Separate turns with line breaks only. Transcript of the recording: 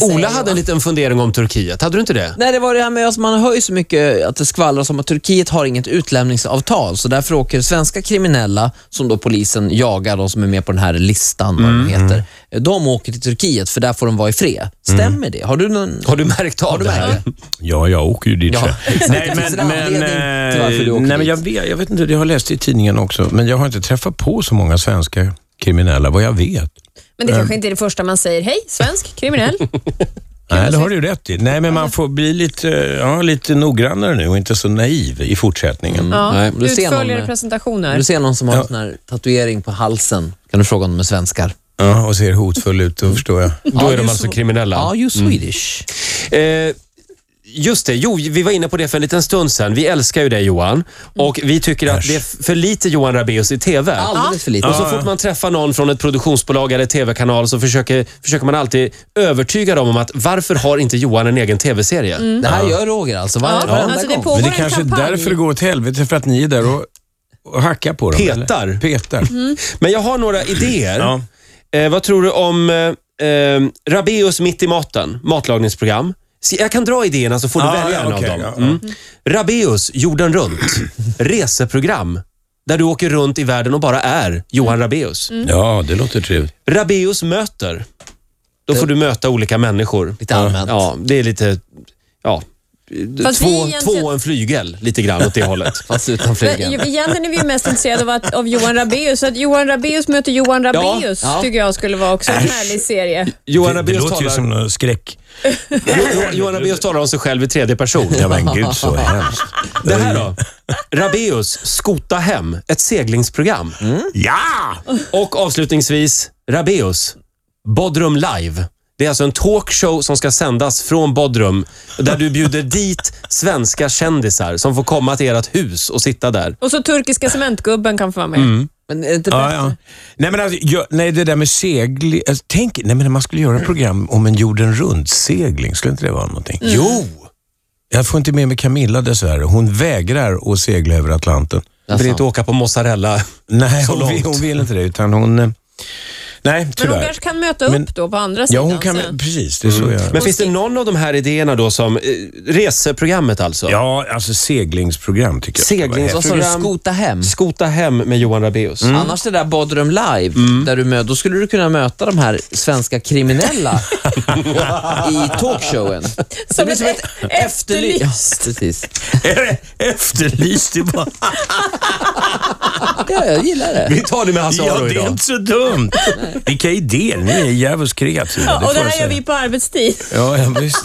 säger
Ola
jag.
hade en liten fundering om Turkiet. Hade du inte det?
Nej, det var det här med att man hör ju så mycket att det skvallras om att Turkiet har inget utlämningsavtal, så därför åker svenska kriminella, som då polisen jagar, de som är med på den här listan, vad de heter, de åker till Turkiet för där får de vara i fred. Stämmer det? Har du någon...
Har du märkt av
du
det
märkt
här?
Ja, jag åker ju dit.
Ja,
själv.
exakt.
nej,
Finns det
men,
en
men,
anledning till varför du
eh,
åker
nej, men
dit?
jag, vet, jag vet inte, jag har läst det i tidningen också, men jag har inte träffat på så många svenska kriminella vad jag vet.
Ehm.
Men det kanske inte är det första man säger. Hej, svensk kriminell.
Nej, det har du rätt i. Nej, men man får bli lite, ja, lite noggrannare nu och inte så naiv i fortsättningen.
Ja,
Nej, men du ser någon
utförligare
med-
presentationer.
Om du ser någon som har
Ja.
en sån här tatuering på halsen, kan du fråga om de är svenskar?
Ja, och ser hotfull ut, då förstår jag.
Då är de
you
alltså
so-
kriminella.
Are you Swedish?
Eh, Just det, jo, vi var inne på det för en liten stund sedan. Vi älskar ju dig Johan och vi tycker att det är för lite Johan Rabaeus i TV.
Alldeles för lite.
Och så fort man träffar någon från ett produktionsbolag eller TV-kanal så försöker, försöker man alltid övertyga dem om att varför har inte Johan en egen TV-serie?
Det här gör Roger alltså, var,
Ja,
varenda
alltså det
gång.
pågår
Men det
en
kanske är
kampanj.
därför det går åt helvete, för att ni är där och, och hackar på dem.
Petar.
eller? Petar.
Mm.
Men jag har några idéer.
Ja.
Eh, vad tror du om eh, eh, Rabeus mitt i maten, matlagningsprogram? Se, Jag kan dra idéerna så får du
Ah,
välja en
okej,
av
ja,
dem.
ja.
Mm. Rabeus jorden runt, reseprogram. Där du åker runt i världen och bara är Johan Rabeus.
Mm.
Mm.
ja, det låter trevligt.
Rabeus möter. Då får du möta olika människor.
Lite allmänt.
Ja, det är lite... Ja.
Fast vi
två,
egentligen-
två och en flygel, lite grann åt det hållet.
Fast utan
Men, ju-
flygeln.
egentligen är vi ju mest intresserade av, att, av Johan Rabaeus, så att Johan Rabaeus möter Johan Rabaeus
ja.
tycker jag skulle vara också en härlig serie.
Johan
det, det
Rabeus
låter ju
talar,
som någon skräck.
Jo- Johan Rabaeus talar om sig själv i tredje person.
Ja, men gud så hemskt.
Det här då? Rabeus, skota hem, ett seglingsprogram.
Mm. Ja!
Och avslutningsvis, Rabeus, Bodrum live. Det är alltså en talkshow som ska sändas från Bodrum där du bjuder dit svenska kändisar som får komma till ert hus och sitta där.
Och så turkiska cementgubben kan få vara med.
Mm, Men är det inte
Ja, ja. Nej, men alltså, jag, nej, det där med segling. Alltså, tänk, nej, men man skulle göra ett program om en jorden runt-segling. Skulle inte det vara någonting?
Mm.
Jo!
Jag får inte med mig Camilla dessvärre. Hon vägrar att segla över Atlanten.
Jag vill inte åka på mozzarella.
Nej,
Så
hon vill,
långt.
hon vill inte det. Utan hon, eh, nej,
Men hon
tyvärr.
kanske kan möta upp
Men-
då på andra
Ja,
sidan
hon kan,
sen. Mm.
precis, det är så jag...
Men finns det någon av de här idéerna då som... Eh, reseprogrammet alltså?
Ja, alltså seglingsprogram tycker jag.
Seglings-
Vad sa du?
program-
Skota hem?
Skota hem med Johan Rabeus.
Mm.
Annars det där Bodrum Live, där du möter, då skulle du kunna möta de här svenska kriminella i talkshowen. det
Som
blir
ett
som ett
e-
efterlyst. Ja, precis.
Efterlyst, det bara...
Ja, jag gillar det.
Vi tar det med Hasse
Ja,
Aro
det är
idag.
inte så dumt. Vilka idéer, ni är djävulskt kreativa.
Ja, och
får
det
jag
här gör
säga.
vi på arbetstid.
Ja, ja, visst.